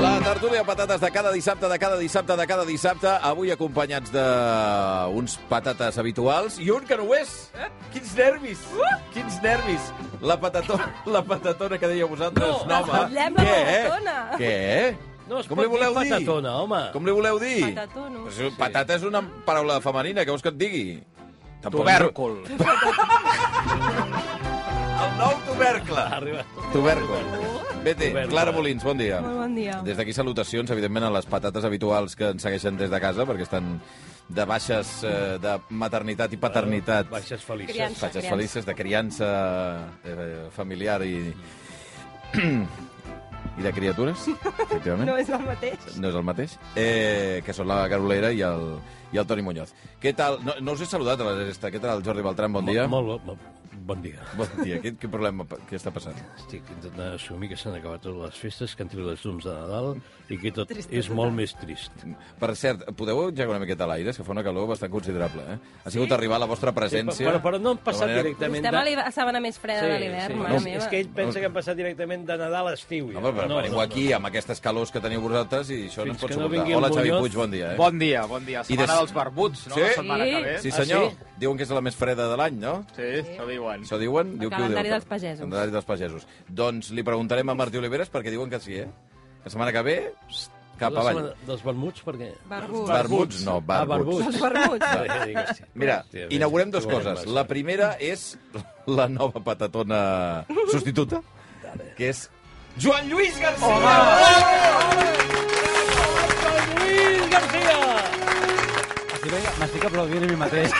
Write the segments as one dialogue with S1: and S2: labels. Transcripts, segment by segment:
S1: La tertúlia de patates de cada dissabte, de cada dissabte, de cada dissabte, avui acompanyats d'uns patates habituals i un que no ho és. Eh? Quins nervis! Uh! Quins nervis! La patatona, la patatona que deia vosaltres,
S2: No,
S1: home. eh?
S2: parlem de patatona.
S1: Què?
S3: No es
S1: Com
S3: pot
S1: li voleu
S3: dir
S1: dir?
S3: patatona, home.
S1: Com li voleu dir?
S2: Patatono.
S1: Pues, Patata és una paraula femenina, què vols que et digui?
S3: Tubèrcul.
S1: El nou tubercle.
S3: Arriba.
S1: Tubercle. Vete,
S3: Tubèrcul.
S1: Clara Molins, bon dia.
S2: Molt bon dia.
S1: Des d'aquí salutacions, evidentment, a les patates habituals que ens segueixen des de casa, perquè estan de baixes eh, de maternitat i paternitat.
S3: Baixes felices.
S2: Criança.
S1: Baixes felices de criança eh, familiar i... i de criatures, efectivament.
S2: No és el mateix.
S1: No és el mateix. Eh, que són la Carolera i el, i el Toni Muñoz. Què tal? No, no us he saludat a la resta. Què tal, Jordi Beltran? Bon dia.
S3: Molt, molt, molt, bon dia.
S1: Bon dia. Què, què problema? Què està passant?
S3: Estic intentant assumir que s'han acabat totes les festes, que han tret les llums de Nadal i que tot és molt més trist.
S1: Per cert, podeu engegar una miqueta a l'aire? És que fa una calor bastant considerable, eh? Ha sigut arribar la vostra presència...
S3: Però, però no han
S1: de
S3: passat
S1: manera-
S3: directament
S2: Estem a
S3: de...
S2: l'hiver- a la setmana més freda de l'hivern, mare
S3: No,
S2: meva.
S3: és que ell pensa que han passat directament de Nadal a estiu. Ja.
S1: Home, però veniu aquí amb aquestes calors que teniu vosaltres i això no es
S3: Fins
S1: pot
S3: que no
S1: suportar.
S3: vingui el
S1: Hola, Xavi
S3: Muñoz.
S1: Puig, bon dia. Eh?
S4: Bon dia, bon dia.
S1: I
S4: Setmana
S1: des-
S4: dels barbuts,
S1: Sí?
S4: no? La setmana que ve.
S3: Ah,
S1: Sí, senyor. Diuen que és la més freda de l'any, no?
S4: Sí, això diuen.
S1: Això diuen?
S2: El
S1: Diu, qui ho
S2: calendari
S1: diu?
S2: dels pagesos.
S1: Calendari dels pagesos. Doncs li preguntarem a Martí Oliveres perquè diuen que sí, eh? La setmana que ve, pst, cap
S3: La
S1: avall.
S3: setmana Dels vermuts, per què?
S2: Barbuts.
S1: Barbuts, no,
S3: Ah,
S1: barbuts.
S2: Els barbuts.
S3: Ja dic, hòstia.
S1: Mira,
S3: Hòstia, bé,
S1: inaugurem dues
S3: ho veurem
S1: coses.
S3: massa.
S1: La primera és la nova patatona substituta, que és Joan Lluís García!
S3: Lluís García!
S5: M'estic aplaudint a mi mateix.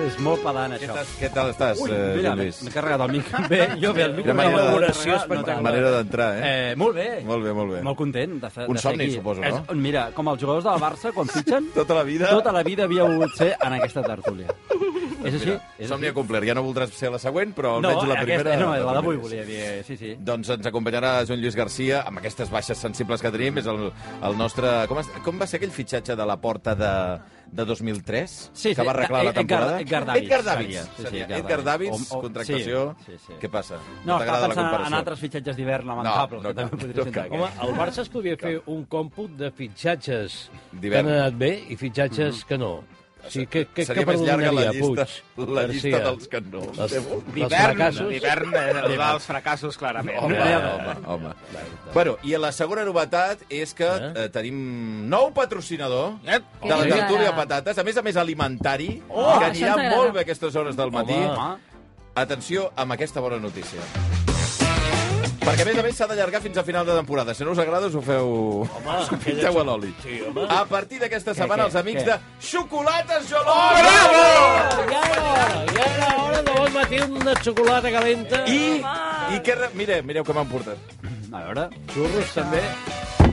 S5: és molt pedant,
S1: Què,
S5: això.
S1: estàs, què tal estàs, Ui, eh,
S5: Mira,
S1: Joan Lluís?
S5: m'he carregat el micro. Bé, jo bé, el micro.
S1: Quina manera,
S5: no
S1: de-
S3: Inauguració espectacular.
S1: manera d'entrar, eh?
S5: Eh, molt bé.
S1: Molt bé, molt bé.
S5: Molt content de, fer,
S1: Un
S5: de ser
S1: somni,
S5: aquí.
S1: suposo, no?
S5: És, mira, com els jugadors del Barça, quan fitxen,
S1: Tota la vida...
S5: tota la vida havia volgut ser en aquesta tertúlia. És així? És
S1: Somni
S5: així?
S1: complert. Ja no voldràs ser la següent, però
S5: No,
S1: almenys la primera...
S5: aquesta, no, la d'avui
S1: primera.
S5: volia dir, eh, sí, sí.
S1: Doncs ens acompanyarà Joan Lluís Garcia amb aquestes baixes sensibles que tenim. És el, el nostre... Com, es, com va ser aquell fitxatge de la porta de, de 2003?
S5: Sí,
S1: que
S5: sí,
S1: va arreglar la
S5: Edgar-
S1: temporada?
S5: Edgar Davids.
S1: Edgar Davids.
S5: Seria, sí, sí,
S1: seria.
S5: Edgar
S1: Edgar
S5: Davids.
S1: Davids,
S5: O- o-
S1: contractació.
S5: sí, sí, sí.
S1: Què passa?
S5: No, estava
S1: t'agrada la
S5: pensant en
S1: comparació?
S5: altres fitxatges d'hivern lamentables,
S1: No, no
S5: que també
S1: cal,
S5: podria
S1: no
S5: ser.
S1: cal.
S3: Home, el Barça es podia fer un còmput de fitxatges que
S1: D'hivern.
S3: han anat bé i fitxatges que no. O sigui, que, que,
S1: Seria
S3: que
S1: més llarga la
S3: perdonaria,
S1: llista,
S3: Puig,
S1: la llista
S3: Garcia.
S1: dels que no.
S3: Els, els
S4: D'hivern,
S3: fracassos...
S4: d'hivern, eh, dels fracassos, clarament.
S1: Home, home, home. Bueno, i la segona novetat és que eh?
S3: Eh?
S1: Eh, tenim nou patrocinador
S4: Ep.
S1: de la
S2: Sí.
S1: tertúlia patates, a més a més alimentari,
S2: Oh,
S1: que
S2: això ens
S1: anirà
S2: agrada.
S1: molt bé a aquestes hores del matí.
S3: Home.
S5: Ah,
S1: Atenció amb aquesta bona notícia. Perquè, a més a més, s'ha d'allargar fins a final de temporada. Si no us agrada, us ho feu... Home, us ho pinteu a l'oli. Sí, a partir d'aquesta setmana, els amics
S5: què?
S1: de Xocolates Joló! Oh, bravo!
S3: Ja era hora, ja era hora de bon matí una xocolata calenta. I
S1: I, i que... Re... Mireu, mireu que m'han portat.
S5: a veure...
S3: xurros, també.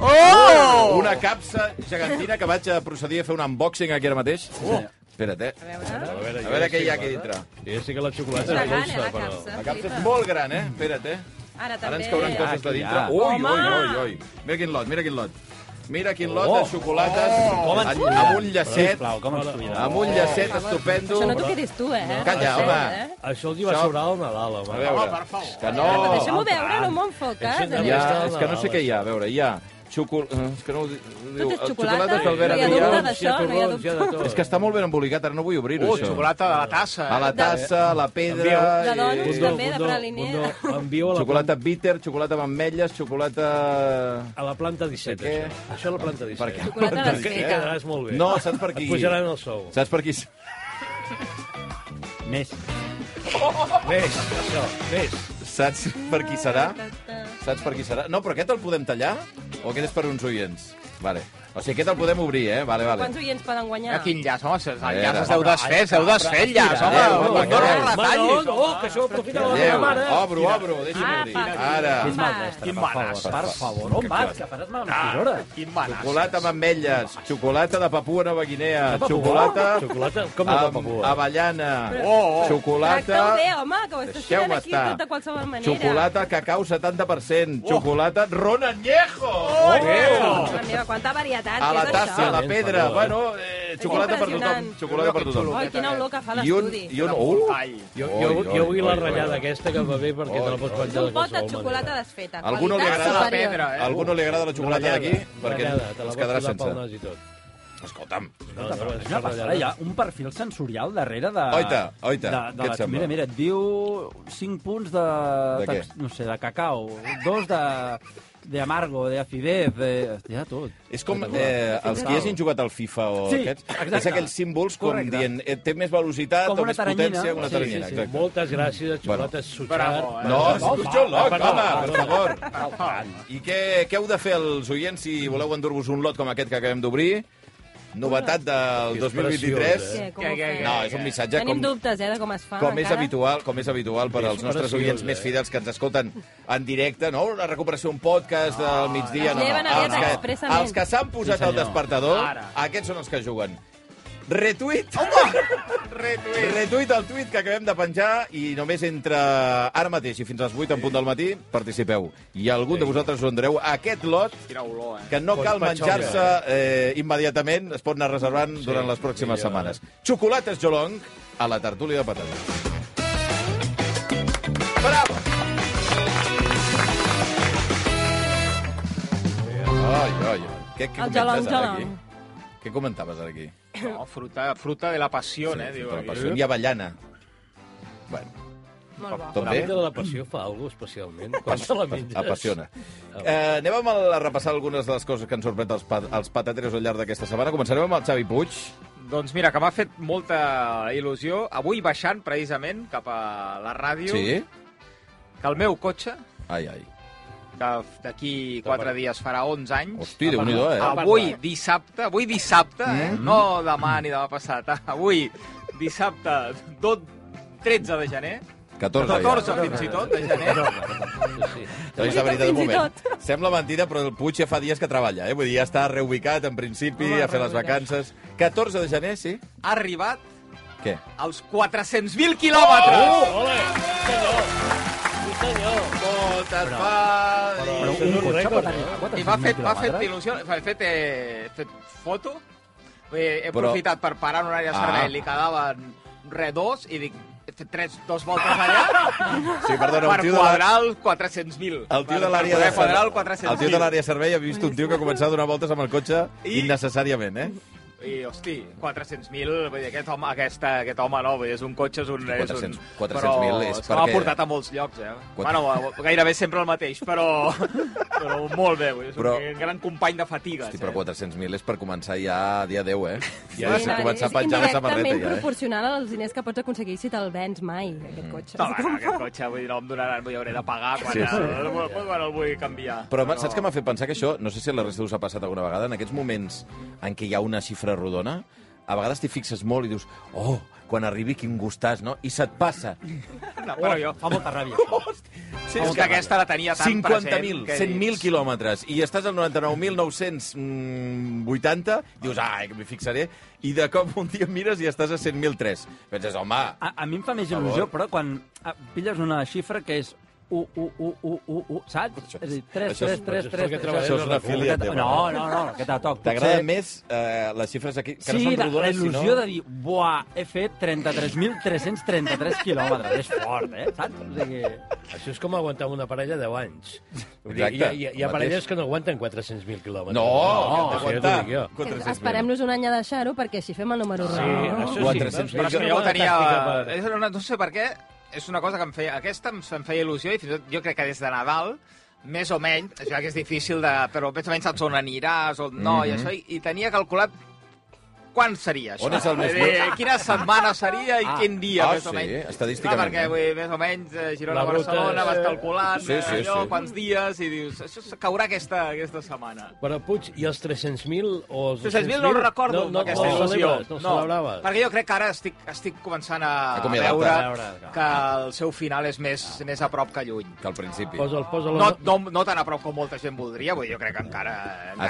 S1: Oh! Una capsa gegantina que vaig a procedir a fer un unboxing aquí ara mateix. Oh. Espera't, eh?
S3: A veure,
S1: A veure què hi ha aquí dintre.
S3: Jo sé que la xocolata
S2: Està
S3: és
S2: gran, eh,
S3: dolça,
S2: la
S3: però...
S2: capsa.
S1: La capsa és
S2: Flipa.
S1: molt gran, eh? Espera't, eh?
S2: Ara
S1: Ara
S2: també. Ah,
S1: ens cauran coses de
S5: aquí hi
S1: dintre.
S5: ha.
S1: Ui,
S2: Home!
S1: ui, ui, ui. Mira quin lot, mira quin lot. Mira quin lot de
S3: Oh!
S1: xocolates
S5: Com ens
S1: amb,
S5: cuidem?
S1: amb un llacet,
S5: Sisplau, com ens cuidem?
S1: amb un llacet estupendo.
S2: Això no t'ho quedis tu, eh?
S1: Calla,
S2: No sé,
S1: home.
S2: eh?
S3: Això els hi va
S1: Això-
S3: sobrar al Nadal, home.
S1: A veure, que no...
S2: Deixa'm-ho veure, no m'enfoques.
S3: Això
S1: Hi ha,
S3: Està
S1: és que no sé
S3: malalt,
S1: què hi ha, a veure, hi ha... Xocol... eh, És que no ho di- ho diu.
S2: Tot és
S1: El
S2: xocolata,
S1: xocolates d'Albert
S2: no hi ha
S1: Adrià.
S2: dubte d'això, no hi ha
S3: Xirrons, de tot.
S1: És que està molt ben embolicat, ara no vull obrir-ho,
S4: Oh,
S1: això.
S4: xocolata de la
S2: Eh,
S4: tassa. eh?
S1: A la tassa, a la pedra...
S2: De dones,
S1: i-
S2: Bundó, també, de praliner.
S3: Bundó, envio a la,
S1: Xocolata bitter, xocolata amb ametlles, xocolata...
S3: planta, a la planta 17,
S1: Per què?
S3: això. Això a la planta 17.
S1: Per què?
S2: Xocolata
S1: Per
S3: Que
S1: què?
S3: hi
S2: desfeta.
S3: quedaràs molt bé.
S1: No, saps per qui?
S3: Et pujaran el sou.
S1: Saps per qui...
S5: Més.
S3: Més, això, més.
S1: Saps per qui serà?
S2: Ta, ta.
S1: Saps per qui serà? No, però aquest el podem tallar? O aquest és per uns oients? Vale. O sigui, aquest el podem obrir, eh? Vale, vale.
S2: Quants oients poden guanyar?
S4: Ah, quin llaç, home, el
S1: Eh,
S4: llaç es
S1: home, eh,
S4: deu desfer, es deu desfer el llaç, home,
S1: Adéu,
S3: Eh,
S4: no
S1: adéu.
S4: no el
S6: No,
S4: retallis.
S6: no, que això aprofita la meva
S1: Adéu.
S6: mare.
S1: Obro, obro, deixa'm
S2: Apa,
S1: obrir.
S2: quin
S1: Ara.
S2: mal
S5: malestre,
S4: Quin
S5: per
S4: manes.
S5: favor, per favor. On vas, que faràs mal amb
S3: Ah.
S5: la tisora?
S4: Quin manas.
S1: Xocolata amb ametlles, xocolata de Papua Nova Guinea,
S3: Papua?
S1: xocolata
S3: Xocolata? Com és la
S1: amb
S3: papua?
S1: avellana,
S4: Oh, oh.
S2: Tracta-ho
S1: xocolata...
S2: bé, home, que ho estàs tirant
S1: Deixeu-me
S2: aquí
S1: estar.
S2: tot de qualsevol manera.
S1: Xocolata, cacau 70%, xocolata, ron añejo!
S2: La meva, quanta varietat,
S1: A la
S2: què és
S1: tassa, a
S2: això?
S1: la pedra, bueno, eh, xocolata per tothom,
S2: impressionant.
S1: xocolata per tothom.
S2: Ai, quina olor que fa
S1: I un,
S2: l'estudi.
S1: i un, uh,
S3: Jo,
S1: Oi,
S3: jo,
S1: oi,
S3: jo vull
S1: oi,
S3: la
S1: oi,
S3: ratllada
S1: oi.
S3: aquesta que va bé perquè te la pots
S2: És
S3: menjar
S2: un
S3: de
S2: pot de
S3: qualsevol
S2: xocolata
S3: manera.
S2: desfeta.
S1: Algú no li
S2: Qualitat
S1: agrada la
S2: superior.
S4: pedra,
S1: a
S4: eh?
S1: algú no li agrada la xocolata d'aquí? Perquè
S3: Ratllada, te la
S1: es
S3: pots
S1: quedarà
S3: posar pel
S1: sense.
S3: nas i tot.
S1: Escolta'm,
S3: No, no,
S5: És una passada, hi ha un perfil sensorial darrere de...
S1: Oita, oita,
S5: de, de
S1: què et
S5: la-
S1: sembla?
S5: Mira, mira, et diu 5 punts de...
S1: De què?
S5: tex- No sé, de cacau, 2 de, de amargo, de acidez, de... Hi ha tot.
S1: És com eh, els que hagin jugat al FIFA o
S5: Sí,
S1: aquests,
S5: exacte.
S1: és aquells símbols com
S5: Correcte.
S1: dient eh, té més velocitat
S5: Com
S1: o
S5: una
S1: més
S5: taranyina.
S1: potència que una
S5: Sí,
S1: taranyina.
S5: sí, sí.
S1: Exacte.
S3: Moltes gràcies, xocolata Sutxar.
S4: Bravo, eh?
S1: No,
S3: Bravo,
S1: escutxa el loc,
S3: bravo,
S1: home,
S3: bravo.
S1: per favor. I què, què heu de fer els oients si voleu endur-vos un lot com aquest que acabem d'obrir? Novetat del
S3: Que és preciós,
S1: 2023.
S2: Què, com ho
S4: Què, què,
S2: fem?
S1: No, és un missatge
S2: Tenim
S1: com,
S2: dubtes, eh, de com es fa.
S1: com és
S2: encara.
S1: habitual, com és habitual per als nostres
S3: preciós,
S1: oients
S3: eh?
S1: més fidels que ens escolten en directe, no? Una recuperació, un podcast del migdia.
S2: Ens
S1: No,
S2: Ah, lleven
S1: no.
S2: aviat
S1: Els que,
S2: expressament.
S1: els que s'han posat al despertador, aquests són els que juguen. Retuit! Retuit. Retuit el tuit que acabem de penjar i només entre ara mateix i fins a les 8 en punt del matí participeu. I algun de vosaltres us endreu aquest lot
S4: Quina olor, eh?
S1: que no
S3: Pot
S1: cal
S3: patxar,
S1: menjar-se eh, immediatament, es pot anar reservant durant les pròximes
S3: millor, eh?
S1: setmanes. Xocolates Jolong a la tertúlia de patates. Bravo! Ai, ai, ai. Què, què
S2: El
S1: comentes
S2: gelong,
S1: ara aquí?
S2: gelong.
S1: Què comentaves ara aquí?
S4: No, fruta, fruta de la passió, eh, diu.
S1: Fruta de la
S4: aquí.
S1: passió. I avellana. Bueno,
S2: Molt bo.
S1: tot
S3: La
S1: bé?
S3: fruita de la passió fa alguna especialment quan te la menges.
S1: Apassiona. Eh, anem amb el- a repassar algunes de les coses que ens sorprèn els, pa els patateros al llarg d'aquesta setmana. Començarem amb el Xavi Puig.
S4: Doncs mira, que m'ha fet molta il·lusió. Avui baixant, precisament, cap a la ràdio,
S1: Sí?
S4: que el meu cotxe,
S1: Ai, ai.
S4: que d'aquí quatre dies farà 11 anys, Ah,
S1: Hosti, déu nhi eh?
S4: avui dissabte, avui dissabte, eh? no demà ni demà passat, eh? avui dissabte, tot 13 de gener,
S1: 14,
S4: 14
S1: ja.
S4: fins i tot de gener,
S1: Doncs la veritat, un
S2: Fins i
S1: moment. Sembla mentida, però el Puig ja fa dies que treballa, eh? Vull dir, ja està reubicat, en principi, a fer les vacances. 14 de gener, sí?
S4: ha arribat
S1: Què?
S4: als 400.000 quilòmetres!
S3: Ole! Sí, senyor!
S1: Moltes fas!
S5: Però
S3: això
S5: un
S3: és un
S5: cotxe
S3: rècord,
S5: pot
S3: eh?
S5: arribar a
S4: I m'ha fet, m'ha
S5: 400.000
S4: fet
S5: quilòmetres?
S4: il·lusió, he fet, eh, he fet foto, he, he
S1: Però-
S4: aprofitat per parar en un àrea de
S1: Ah.
S4: servei, li quedaven re dos, i dic, he fet tres, dos voltes allà,
S1: Sí, perdona,
S4: per
S1: el tio de la...
S4: quadrar el 400.000.
S1: El tio
S4: Per-
S1: de l'àrea
S4: per
S1: de
S4: poder quadrar el
S1: El tio de
S4: 400.000.
S1: l'àrea de servei ha vist un tio que començava a donar voltes amb el cotxe
S4: I-
S1: innecessàriament, eh?
S4: I, hosti, 400.000, vull dir, aquest home, aquesta, aquest home no, vull dir, és un cotxe, és un... és un-
S1: 400 400.000
S4: però
S1: és
S4: se m'ha
S1: perquè-
S4: portat a molts llocs, eh?
S1: Quatre-
S4: Bueno, gairebé sempre el mateix, però, però molt bé, vull dir, és
S1: Però-
S4: un gran company de fatigues.
S1: Hosti, però
S4: eh?
S1: 400.000 és per començar ja a dia 10, eh? Ja
S2: Sí,
S1: s'ha
S2: no,
S1: començat
S2: és
S1: a penjar la samarreta,
S2: indirectament
S1: ja, eh? Mm.
S2: proporcional als diners que pots aconseguir si te'l vens mai, aquest cotxe.
S4: No, no, aquest cotxe, vull dir, no em donaran, vull dir, hauré de pagar quan,
S1: Sí,
S4: sí,
S1: sí.
S4: sí. El, quan el vull canviar.
S1: Però no. saps que m'ha fet pensar que això, no sé si a la resta us ha passat alguna vegada, en aquests moments en què hi ha una xifra rodona, a vegades t'hi fixes molt i dius, oh, quan arribi quin gustàs, no? I se't passa.
S4: No, però jo...
S5: Fa molta ràbia. això.
S4: Sí, és que aquesta la tenia tan present...
S1: 50.000,
S4: que
S1: 100.000
S4: dius,
S1: quilòmetres, i estàs al 99.980, mm, dius, ai, que m'hi fixaré, i de cop un dia mires i estàs a 100.003. Penses, home,
S4: Ah,
S5: A, a mi em fa més il·lusió, però quan ah, pilles una xifra que és 1, 1, 1, 1, 1, 1, saps? És a dir, 3,
S1: això és-
S3: això és
S5: 3, 3, 3...
S3: perquè treballes en una
S1: filial teva.
S5: No, no, no, que te toc.
S1: t'agrada més eh, les xifres aquí, que
S5: sí,
S1: no són
S5: la- la
S1: rodones,
S5: il·lusió
S1: sinó...
S5: de dir, buah, he fet 33.333 quilòmetres, és fort, eh? Saps? O sigui,
S3: Això és com aguantar una parella 10 anys. Vull dir,
S1: Exacte,
S3: Hi ha, hi ha, hi ha
S1: el mateix.
S3: parelles que no aguanten 400.000 quilòmetres.
S1: No,
S3: no,
S1: que
S3: això ja
S1: t'aguanta.
S3: t'ho dic jo.
S2: Esperem-nos un any a deixar-ho perquè així fem el número
S3: Sí,
S2: rodó.
S3: això sí.
S1: 400.000.
S4: Però és que
S3: una
S4: jo ho
S3: bona
S4: tenia...
S3: tàctica per-
S4: És una, no sé per què, és una cosa que em feia... Aquesta em, em feia il·lusió i fins i tot jo crec que des de Nadal, més o menys, ja que és difícil de... Però més o menys saps on aniràs, on no, i això, i, i tenia calculat quan seria això?
S1: Mhm. On és el més
S4: Vull dir,
S1: net?
S4: Quina setmana seria i
S3: Ah.
S4: quin dia,
S1: Ah,
S4: més o
S1: sí,
S4: menys?
S1: estadísticament,
S4: Clar, perquè
S1: eh?
S4: vull, dir, més o menys eh, Girona,
S3: La ruta
S4: Barcelona,
S3: és-
S4: vas calculant
S1: Sí, sí,
S4: eh, allò,
S1: sí.
S4: quants dies, i dius, això s- caurà aquesta, aquesta setmana.
S3: Però, Puig, i els 300.000 o els
S4: 300.000 no ho recordo,
S3: No, no,
S4: aquesta
S3: no, no,
S4: il·lusió.
S3: no, celebraves.
S4: perquè jo crec que ara estic, estic començant a,
S1: A
S4: a
S1: acomiadar-te.
S4: veure
S3: A veure, Ah.
S4: que el seu final és més, més a prop que lluny.
S1: Que al principi.
S3: Posa'l, posa'l...
S4: No, no, no tan a prop com molta gent voldria, vull dir, jo crec que encara, encara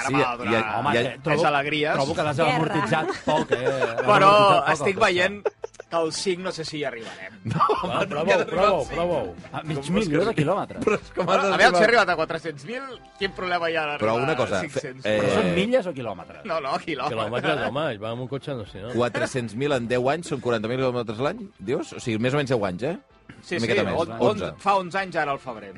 S1: Ah, sí,
S4: m'ha de
S1: hi
S4: donar
S1: ha-
S5: Home,
S1: hi ha-
S5: que
S4: tres alegries.
S5: eh, Trobo que l'has
S2: Guerra.
S5: amortitzat poc, eh? L'has
S4: Però
S5: amortitzat poc,
S4: estic
S5: el cotxe.
S4: veient que al 5 no sé si hi arribarem.
S3: Va, Prova-ho, prova-ho, prova-ho.
S5: A mig milió de quilòmetres.
S1: Però és que m'has
S4: Bueno, a veure, si he arribat a 400.000, quin problema hi ha d'arribar
S1: Però una cosa,
S4: a 500?
S1: fe-
S5: Però
S1: eh,
S5: són milles o quilòmetres?
S4: No, no, quilòmetres.
S3: Quilòmetres, home, ell va amb un cotxe, no sé, no?
S1: 400.000 en 10 anys són 40.000 quilòmetres l'any, dius? O sigui, més o menys 10 anys, eh?
S4: Sí,
S1: Una
S4: sí,
S1: miqueta més,
S4: on, on,
S1: 11.
S4: fa 11 anys ara al febrer.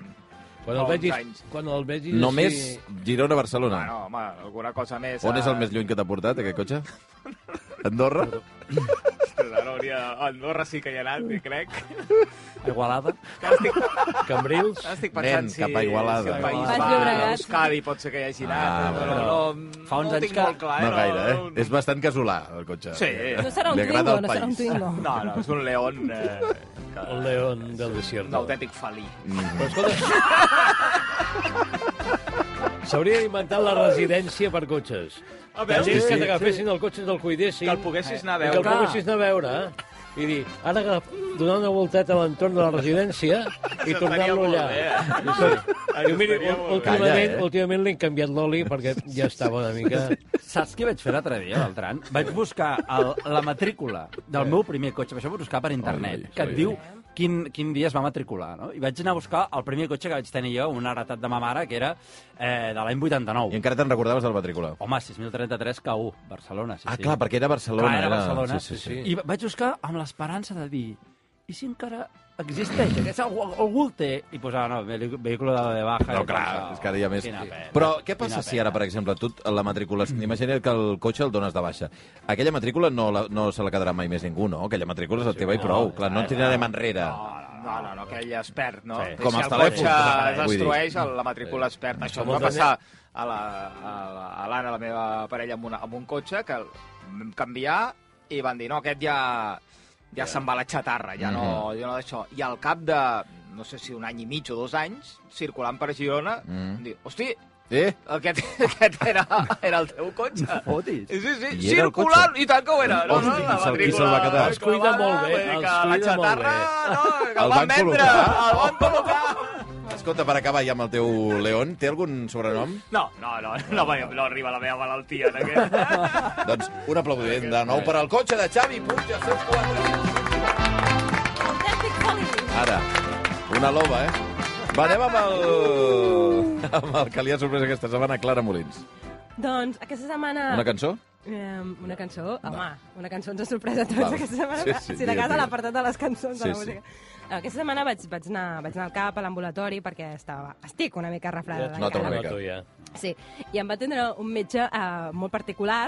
S3: Quan el
S4: fa uns
S3: vegis...
S4: anys.
S3: Quan el vegis...
S1: Només
S3: així-
S1: Girona-Barcelona.
S4: Bueno, home, alguna cosa més.
S1: On
S4: eh,
S1: és el més lluny que t'ha portat, aquest cotxe? Andorra?
S4: Ostres, ara hauria- A Andorra sí que hi ha anat,
S5: Mm.
S4: jo crec.
S5: A Igualada?
S4: Ara estic,
S3: Cambrils...
S4: ara estic pensant
S1: Nen,
S4: si,
S1: cap a Igualada.
S4: si el País
S5: Baix
S4: Basc,
S2: Llobregat.
S4: Euskadi pot ser que hi hagi anat.
S1: Ah,
S4: però
S1: bueno.
S4: no, no,
S5: Fa uns
S4: no ho
S5: anys
S4: tinc
S5: que-
S4: molt clar.
S1: no gaire, eh?
S4: un-
S1: És bastant casolà, el cotxe. Eh,
S4: Sí.
S2: No serà un
S1: Li agrada
S2: Twingo,
S1: el
S2: no serà un
S1: país.
S2: Twingo.
S4: No, no, és un león... Eh, que...
S3: El león del
S4: Un
S3: desierto.
S4: autèntic felí.
S3: Però escolta... S'hauria inventat la residència per cotxes.
S4: A
S3: Que
S4: veure,
S3: gent
S4: sí,
S3: que
S4: sí.
S3: t'agafessin el cotxe, te'l cuidessin...
S4: Que el poguessis anar a
S3: i
S4: veure.
S3: Que el poguessis anar a veure, eh? I dir, ara agaf- donar una volteta a l'entorn de la residència i
S4: Això
S3: tornar-lo
S4: estaria
S3: allà.
S2: eh?
S4: molt
S3: Sí.
S4: Això
S3: Diu, miri,
S4: estaria molt bé.
S3: últimament,
S1: Calla, eh?
S3: últimament li hem canviat l'oli perquè ja estava una mica...
S5: Saps què vaig fer l'altre dia, Beltran? Vaig buscar el, la matrícula del
S1: Eh.
S5: meu primer cotxe. Això ho vaig buscar per internet,
S1: Oi,
S5: que et
S1: oi,
S5: diu quin, quin dia es va matricular. No? I vaig anar a buscar el primer cotxe que vaig tenir jo, una heretat de ma mare, que era eh, de l'any
S1: I
S5: 89.
S1: encara te'n recordaves del matrícula.
S5: Home, 6.033 KU, Barcelona. Sí,
S1: Ah,
S5: sí.
S1: clar, perquè era Barcelona.
S5: Clar, era Barcelona.
S1: Sí, sí, sí.
S5: I va- vaig buscar amb l'esperança de dir i si encara existeix, que és algú, algú el té. I posava, no, vehi- vehicle de, de baja.
S1: No,
S5: I
S1: clar,
S5: pensava,
S1: és que ara hi ha més...
S5: quina pena,
S1: Però què passa
S5: quina
S1: si ara,
S5: pena.
S1: per exemple, tu la matrícula... Imagina que el cotxe el dones de baixa. Aquella matrícula no, la, no se la quedarà mai més ningú, no? Aquella matrícula és la teva i prou. Clar, no en tirarem enrere.
S4: No, no, no, aquell es perd, no?
S5: Sí.
S4: Sí.
S1: Com
S4: si
S1: els
S4: el
S1: telèfons,
S4: cotxe
S1: clar, eh?
S4: es
S1: vull dir. eh,
S4: destrueix, el- la matrícula es perd. Això em va passar a l'Anna, la, a la, a l'Anna, la meva parella, amb, una, amb un cotxe, que el vam canviar i van dir, no, aquest ja, ja se'n va a la xatarra, ja no,
S1: Mhm.
S4: ja no d'això. I al cap de, no sé si un any i mig o dos anys, circulant per Girona, mm.
S1: Mm.
S4: diu, hosti,
S1: Eh?
S4: aquest, aquest era, era el teu cotxe.
S5: Fotis.
S4: Sí, sí, sí.
S1: I era el
S4: circulant, i tant que ho era. No,
S1: Hosti,
S4: no, la
S1: i se'l- i
S4: matrícula.
S1: se'l va quedar.
S3: Els cuida molt bé,
S4: vull dir que
S3: els cuida
S4: la
S3: molt
S4: xatarra, No, que el,
S1: El
S4: van
S1: van
S4: vendre,
S1: col·locar.
S4: el van col·locar.
S1: Escolta, per acabar ja amb el teu León, té algun sobrenom?
S4: No, no, no, no, va- no arriba la meva malaltia en aquest.
S1: Doncs un aplaudiment de nou per al cotxe de Xavi Puig, els seus quatre.
S2: Fantàstic Hollywood.
S1: Ara, una loba, eh? Va, anem amb el, amb el que li ha sorprès aquesta setmana, Clara Molins.
S2: Doncs aquesta setmana...
S1: Una cançó?
S2: Um, una cançó, home, una cançó ens ha sorprès a tots
S1: Val.
S2: aquesta setmana.
S1: Sí, sí,
S2: si de
S1: digues,
S2: casa
S1: digues.
S2: l'apartat de les cançons
S1: Sí,
S2: de la
S1: sí.
S2: música. Eh, Aquesta setmana vaig, vaig, anar, vaig anar al CAP, a l'ambulatori, perquè estava, estic una mica refredada.
S3: Ja
S1: et nota
S2: encara.
S1: una mica.
S3: noto ja.
S2: Sí, i em va atendre un metge eh, molt particular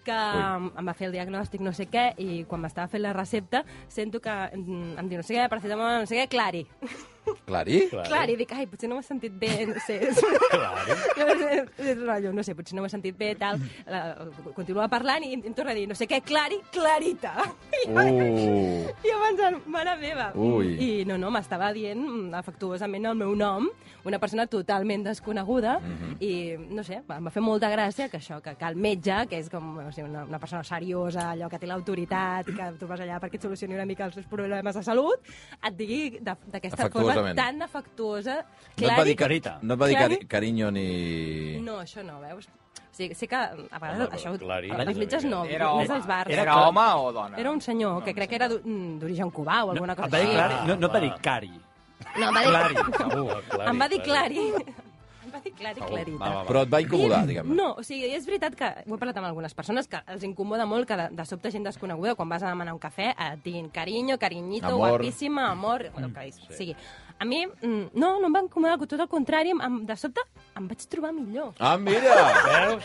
S2: que em em va fer el diagnòstic no sé què i quan m'estava fent la recepta sento que mm, em diu no sé què, paracetamol, no sé què, clari.
S1: Clari?
S3: Clar.
S2: Clari, dic, ai, potser no m'ha sentit bé, no sé. Clari. És rotllo, no sé, potser no m'ha sentit bé, tal. La, continua parlant i em, em torna a dir, no sé què, clari, clarita. I
S1: Uh,
S2: i abans, en- mare meva.
S1: Ui.
S2: I no, no, m'estava dient mm, afectuosament el meu nom, una persona totalment desconeguda,
S1: Mhm.
S2: i no sé, em va fer molta gràcia que això, que, que el metge, que és com no sé, una, una persona seriosa, allò que té l'autoritat, que tu vas allà perquè et solucioni una mica els seus problemes de salut, et digui de- d'aquesta forma
S1: Afectuosament.
S2: tan afectuosa,
S1: no et va
S2: clar
S1: dir,
S2: i
S1: carita. No et va dir
S2: Clari?
S1: cari carinyo ni...
S2: no, això no, veus? O sigui, sé que a vegades
S3: Home,
S2: això,
S3: però Clarín,
S2: els
S3: una
S2: metges
S3: mica.
S2: no,
S4: Era
S2: només
S4: home.
S2: els bars.
S4: Era
S2: Clar.
S4: home o dona?
S2: Era un senyor que crec que era d'o- mm, d'origen cubà o alguna
S5: No,
S2: cosa
S5: et va dir
S2: així.
S5: clari, no, no et va dir
S3: Ah,
S5: cari.
S2: No, em va dir...
S5: Clari, segur.
S2: em va dir clari. em va dir clari, clarita.
S5: Va, va, va.
S1: Però et va incomodar, diguem-ne.
S2: No, o sigui, és veritat que ho he parlat amb algunes persones que els incomoda molt que de, de sobte gent desconeguda quan vas a demanar un cafè et diguin carinyo, carinyito,
S1: Amor.
S2: guapíssima, amor, mm, el que sí. sigui. A mi, mm, no, no em va incomodar, tot el contrari, em, em, de sobte em vaig trobar millor.
S1: Ah, mira!
S3: Veus?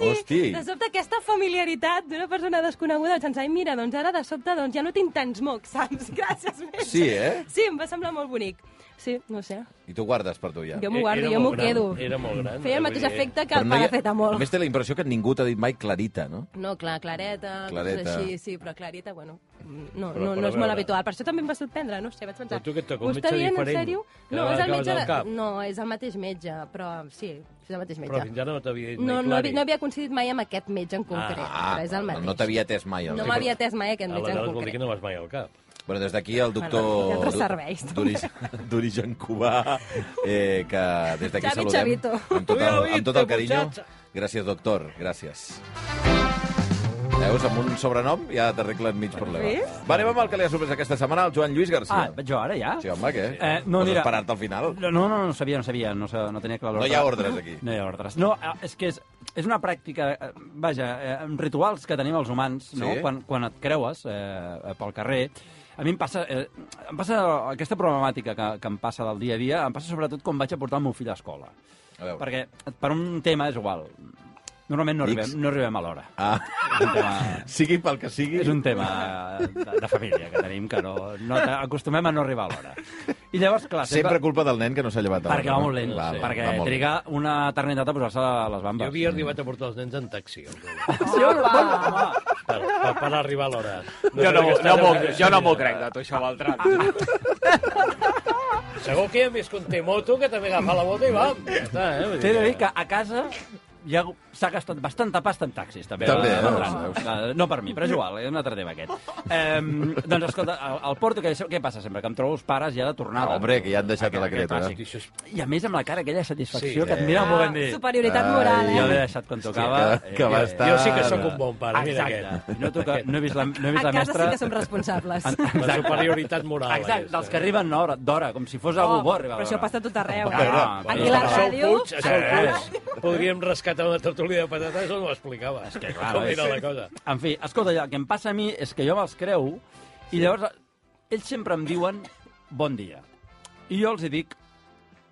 S2: Sí,
S1: Hosti.
S2: De sobte aquesta familiaritat d'una persona desconeguda, sense, ai, mira, doncs ara de sobte doncs ja no tinc tants mocs, saps? Gràcies, metge.
S1: Sí, eh?
S2: Sí, em va semblar molt bonic. Sí, no sé.
S1: I tu guardes per tu ja.
S2: Jo m'ho guardo,
S3: Era
S2: jo m'ho
S3: molt gran,
S2: quedo.
S3: Era molt gran. eh?
S2: Feia el
S3: vull
S2: mateix
S3: dir,
S2: efecte que
S1: Però
S2: el
S1: no hi ha-
S2: paracetamol.
S1: A més, té la impressió que ningú t'ha dit mai clarita, no?
S2: No, clar, clareta, clareta,
S1: Clareta.
S2: coses així, sí, però clareta, bueno, no, no, no
S3: però a
S2: és molt
S3: veure.
S2: habitual. Per això també em va sorprendre, no sé, vaig pensar...
S3: Però tu què et toca,
S2: "Ho
S3: un
S2: està
S3: metge
S2: dient,
S3: diferent?
S2: En sèrio?
S3: Cada
S2: No, és
S3: vegada
S2: el
S3: acabes
S2: metge...
S3: al cap.
S2: No, és el mateix metge, però sí, és el mateix
S3: Però
S2: metge.
S3: fins ara no t'havia dit
S2: No,
S3: mai
S2: no,
S3: clari.
S2: havia, no havia coincidit mai amb aquest metge en concret, ah, però és el mateix.
S1: no t'havia atès mai. El
S2: No
S1: metge.
S2: m'havia atès mai aquest metge en
S3: Aleshores vol dir que
S2: concret.
S3: no vas mai al cap.
S1: Bueno, des d'aquí el doctor...
S2: Bueno, hi ha altres
S1: d'o-
S2: serveis, també.
S1: d'origen- D'origen cubà, eh, que des d'aquí
S2: Xavi
S1: saludem.
S2: Chavito.
S1: Amb tot el, amb tot el carinyo.
S3: muchacha.
S1: Gràcies, doctor, gràcies. Veus, amb un sobrenom ja t'arreglen mig problema.
S2: Ves?
S1: Va, anem amb el que li ha sorprès aquesta setmana, el Joan Lluís García.
S5: Ah, vaig jo ara ja?
S1: Sí, home, què?
S5: Eh, no,
S1: Vols
S5: mira-
S1: esperar-te al final?
S5: No, no, no, no sabia, no sabia, no, sa- no tenia clar
S1: No hi ha ordres, aquí.
S5: No hi ha ordres. No, eh, és que és, és una pràctica, eh, vaja, eh, amb rituals que tenim els humans, no?
S1: Sí.
S5: Quan, quan et creues eh, eh, pel carrer, a mi em passa, eh, em passa aquesta problemàtica que, que em passa del dia a dia, em passa sobretot quan vaig a portar el meu fill a escola.
S1: A veure.
S5: Perquè per un tema és igual. Normalment no
S1: Ics.
S5: arribem, no arribem a l'hora.
S1: Ah,
S5: És un tema
S1: sigui pel que sigui.
S5: és un tema de, de família que tenim, que no, no acostumem a no arribar a l'hora. I llavors, clar,
S1: Sempre culpa del nen que no s'ha llevat a l'hora,
S5: perquè va
S1: no?
S5: molt lent,
S1: Val,
S5: perquè
S1: va molt
S5: triga una eternitat a posar-se les
S3: Jo
S5: bambes.
S3: havia arribat a portar els nens en taxi. el dia.
S5: Sí, home, home, home.
S3: Per, per, per arribar a l'hora.
S4: Jo
S3: sé
S4: no, jo no,
S3: què
S4: m'ho-
S3: està-
S4: jo no m'ho crec de tu, això, Beltran.
S3: Segur que hi ha més que un Temoto que també agafa la bota i vam. Ja està, eh? Vull
S5: T'he de dir que a casa ja s'ha gastat bastanta pasta en taxis, també.
S1: També,
S5: eh?
S1: eh? Veus,
S5: No, no per mi, però és igual, és un altre tema aquest. Eh, doncs escolta, al, al Porto, què, què passa sempre? Que em trobo els pares Ah, ja de tornada.
S1: Hombre, que ja han deixat a la
S3: Què
S1: creta.
S3: passa?
S1: eh?
S3: Això és...
S5: I a més amb la cara aquella de satisfacció
S3: Sí,
S5: que et mira molt ben
S2: Ah,
S5: dit.
S2: superioritat moral,
S5: Jo l'he
S2: eh?
S5: deixat quan tocava.
S1: que- que va estar-
S3: Jo sí que sóc un bon pare, mira
S5: Exacte.
S3: aquest.
S5: No, toca, no he vist la, no he vist
S2: A
S5: la
S2: casa
S5: mestra...
S2: sí que som responsables.
S3: La superioritat moral.
S5: Exacte,
S3: aquesta. eh?
S5: dels que arriben d'hora, d'hora com si fos algú bo arribar
S2: Oh, però això
S5: d'hora.
S2: passa a tot arreu, eh?
S5: Ah, bueno,
S2: Aquí la
S3: Això el
S2: ràdio...
S3: Puig, això el Puig. Podríem rescatar una tertúlia de patates, això no ho explicava. És que,
S5: clar,
S3: Com
S5: és-
S3: era la cosa.
S5: En fi, escolta, el que em passa a mi és que jo me'ls creu i llavors ells sempre em diuen bon dia. I jo els hi dic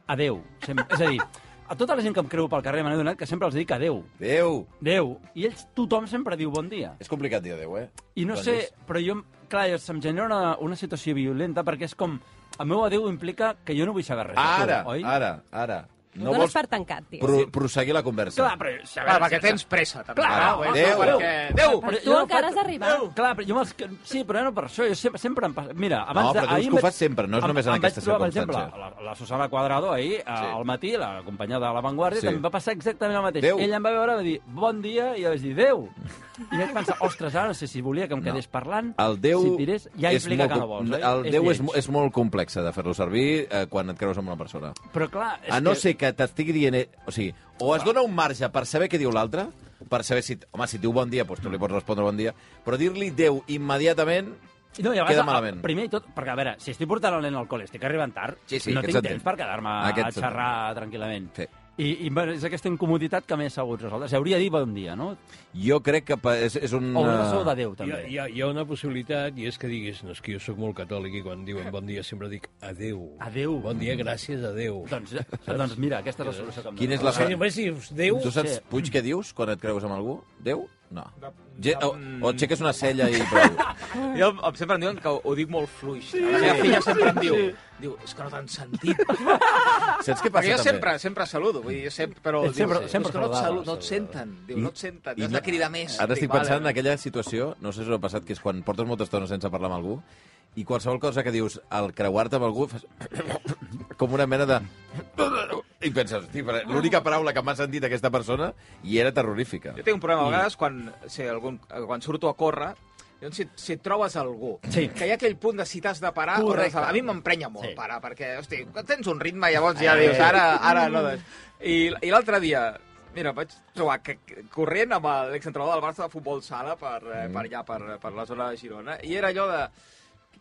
S5: adeu. Sempre. És a dir, a tota la gent que em creu pel carrer m'han adonat que sempre els dic adeu.
S1: Déu!
S5: Adeu. I ells, tothom sempre diu bon dia.
S1: És complicat dir adéu, eh?
S5: I no
S1: Doncs
S5: sé, però jo, clar, se'm genera una, una situació violenta perquè és com, el meu adeu implica que jo no vull saber res. de tu,
S1: Ara,
S5: oi?
S1: ara, ara.
S2: No dones per tancat, tio.
S1: pro proseguir la conversa.
S5: Clar, però... a
S4: Clar,
S5: veure,
S4: perquè tens pressa, també.
S5: Clar,
S4: Ara,
S5: home,
S4: eh?
S1: Déu.
S4: perquè... Déu!
S2: Però tu
S5: jo
S2: encara
S5: faig-
S2: has d'arribar.
S5: Déu. Clar, però jo me'ls... Sí, però no per això. Jo sempre, sempre em passa... Mira, abans...
S1: No, però
S5: de-
S1: tu
S5: ahir
S1: és
S5: em
S1: que ho
S5: vaig-
S1: fas sempre, no és
S5: em-
S1: només en
S5: em vaig
S1: aquestes
S5: trobar, per
S1: circumstàncies.
S5: exemple, la, la Susana Quadrado ahir, a,
S1: Sí.
S5: al matí, la companya de La Vanguardia,
S1: Sí.
S5: sí. també em va passar exactament el mateix.
S1: Déu.
S5: Ella em va veure, va dir, bon dia, i jo vaig dir, Déu. I vaig pensar, ostres, ara no sé si volia que em quedés parlant,
S1: El Déu
S5: si tirés, ja
S1: és
S5: implica
S1: molt
S5: que no
S1: com-
S5: vols, oi?
S1: El Déu és,
S5: lleig.
S1: mo- és molt complex de fer-lo servir eh, quan et creus amb una persona.
S5: Però clar, és
S1: A no
S5: que...
S1: ser que t'estigui dient... eh, O sigui, o es dona un marge per saber què diu l'altre, per saber si... Home, si et diu bon dia, doncs tu li pots respondre bon dia, però dir-li Déu immediatament...
S5: No, i a
S1: Queda
S5: vegades,
S1: malament.
S5: Primer i tot, perquè a veure, si estic portant el nen al col·le, estic arribant tard,
S1: Sí, sí,
S5: no
S1: aquest
S5: tinc
S1: s'entén.
S5: temps per quedar-me a
S1: Aquest
S5: xerrar tranquil·lament.
S1: Sí.
S5: I, i bueno, és aquesta incomoditat que m'he assegut nosaltres. Hauria de dir bon dia, no?
S1: Jo crec que pa- és, és un...
S5: O una
S1: eh,
S5: sou de Déu,
S3: Hi ha,
S5: també.
S3: hi, ha, hi ha una possibilitat, i és que diguis, no, és que jo sóc molt catòlic i quan diuen bon dia sempre dic adeu.
S5: Adéu.
S3: Bon dia, gràcies, adeu.
S5: Doncs, doncs mira, aquesta és la solució que em
S1: Quina és la...
S5: dona.
S3: O sigui, només dius Déu...
S1: Tu saps,
S5: Sí.
S1: Puig, què dius quan et creus amb algú? Déu? No. Ge o,
S4: mm.
S1: o aixeques una cella i prou.
S4: Jo em- sempre em diuen que ho, ho dic molt fluix. La meva filla sempre em diu, diu és que no t'han sentit.
S1: Saps què
S4: Perquè
S1: passa,
S4: jo
S1: també?
S4: sempre, sempre saludo, vull dir, jo sempre, però diu,
S5: Sempre-
S4: "És
S5: sempre
S4: que no et,
S5: saludava,
S4: salu no et
S3: saludava.
S4: senten, diu, no et senten, has de cridar més.
S1: Ara
S4: Dic,
S1: estic pensant en
S4: "Vale".
S1: aquella situació, no sé si us ha passat, que és quan portes molta estona sense parlar amb algú, i qualsevol cosa que dius al creuar-te amb algú fas com una mena de... I penses, hosti, però l'única paraula que m'ha sentit aquesta persona i era terrorífica.
S4: Jo tinc un problema a vegades quan, si algun, quan surto a córrer, doncs si, si et trobes algú,
S5: Sí.
S4: que hi ha aquell punt de si t'has de parar o res,
S5: Correcte.
S4: a mi m'emprenya molt
S5: Sí. Eh.
S4: sí. parar, perquè, hosti, quan tens un ritme, llavors ja dius, ara, ara no... Des... I, i l'altre dia, mira, vaig trobar que, que- corrent amb l'exentrenador del Barça de futbol sala per,
S5: Mm.
S4: eh, per allà, per, per la zona de Girona, i era allò de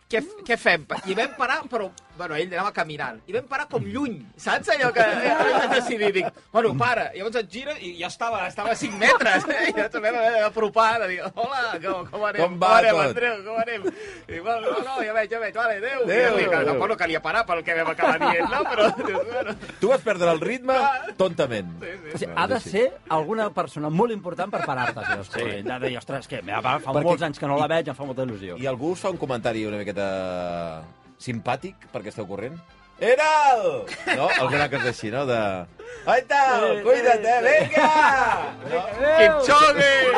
S4: què, f- què fem? I vam parar, però... Bueno, ell anava caminant. I vam parar com lluny, saps? Allò que eh, vaig decidir, dic, bueno, para. I llavors et giro i ja estava, estava a 5 metres. Eh? I ens vam haver d'apropar, de dir, hola, com, com anem?
S1: Com va
S4: anem,
S1: tot?"
S4: Andreu? Com anem? I dic, bueno, no, no, ja veig, ja veig, vale, adéu.
S1: Adéu,
S4: adéu, adéu,
S1: adéu.
S4: adéu. "Ah, Tampoc no calia parar pel que vam acabar dient, no? Però, dius, bueno...
S1: Tu vas perdre el ritme tontament.
S5: O sigui, ha de ser alguna persona molt important per parar-te. Si els sí. Ha de dir, ostres, que meva, fa
S1: Perquè-
S5: molts anys que no la veig, em fa molta il·lusió.
S1: I algú us fa un comentari una miqueta simpàtic perquè esteu corrent? Era el... No, alguna cosa així, no? De... Ahí está, cuídate,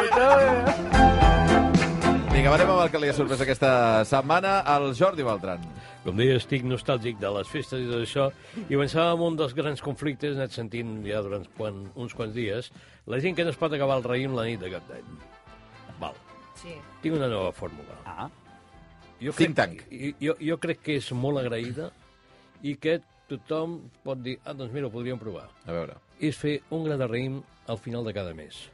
S1: venga! No? Vinga, anem amb el que li ha sorprès aquesta setmana, el Jordi Beltran.
S3: Com deia, estic nostàlgic de les festes i tot això, i pensava en un dels grans conflictes, he anat sentint ja durant quan, uns quants dies, la gent que no es pot acabar el raïm la nit de cap d'any. Val.
S2: Sí.
S3: Tinc una nova fórmula.
S5: Ah,
S3: Jo
S1: Think tank.
S3: Jo, jo, jo crec que és molt agraïda i que tothom pot dir, ah, doncs mira, ho podríem provar.
S1: A veure,
S3: És fer un gra de raïm al final de cada mes.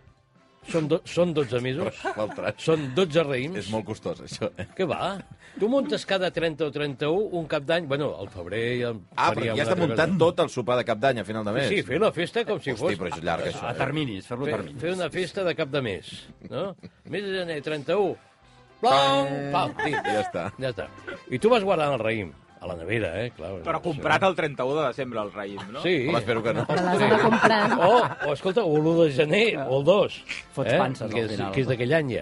S3: Són, do, són 12 mesos,
S1: Beltran.
S3: són 12 raïms.
S1: És molt costós, això. eh?
S3: Què va? Tu muntes cada 30 o 31 un cap d'any... Bueno, al febrer ja...
S1: Ah, però ja has de muntar tot el sopar de cap d'any a final de mes.
S3: Sí, fer la festa com si
S1: Hosti,
S3: fos...
S1: però és llarg, això. eh?
S5: a terminis, fer-lo a
S3: Fer,
S5: terminis.
S3: fer una festa de cap de mes, no? Mes de gener, 31. Plom! Pam!
S1: Sí, ja està.
S3: Ja està. I tu vas guardant el raïm, a la nevera, eh? Clar,
S4: Però comprat el 31 de desembre, el raïm, no?
S3: Sí.
S1: Home, espero que no.
S2: Te l'has d'anar comprant.
S3: O, o, escolta, o l'1 de gener, o el 2.
S5: Fots panses,
S3: que
S5: al
S3: és,
S5: final.
S3: Que és d'aquell any, ja.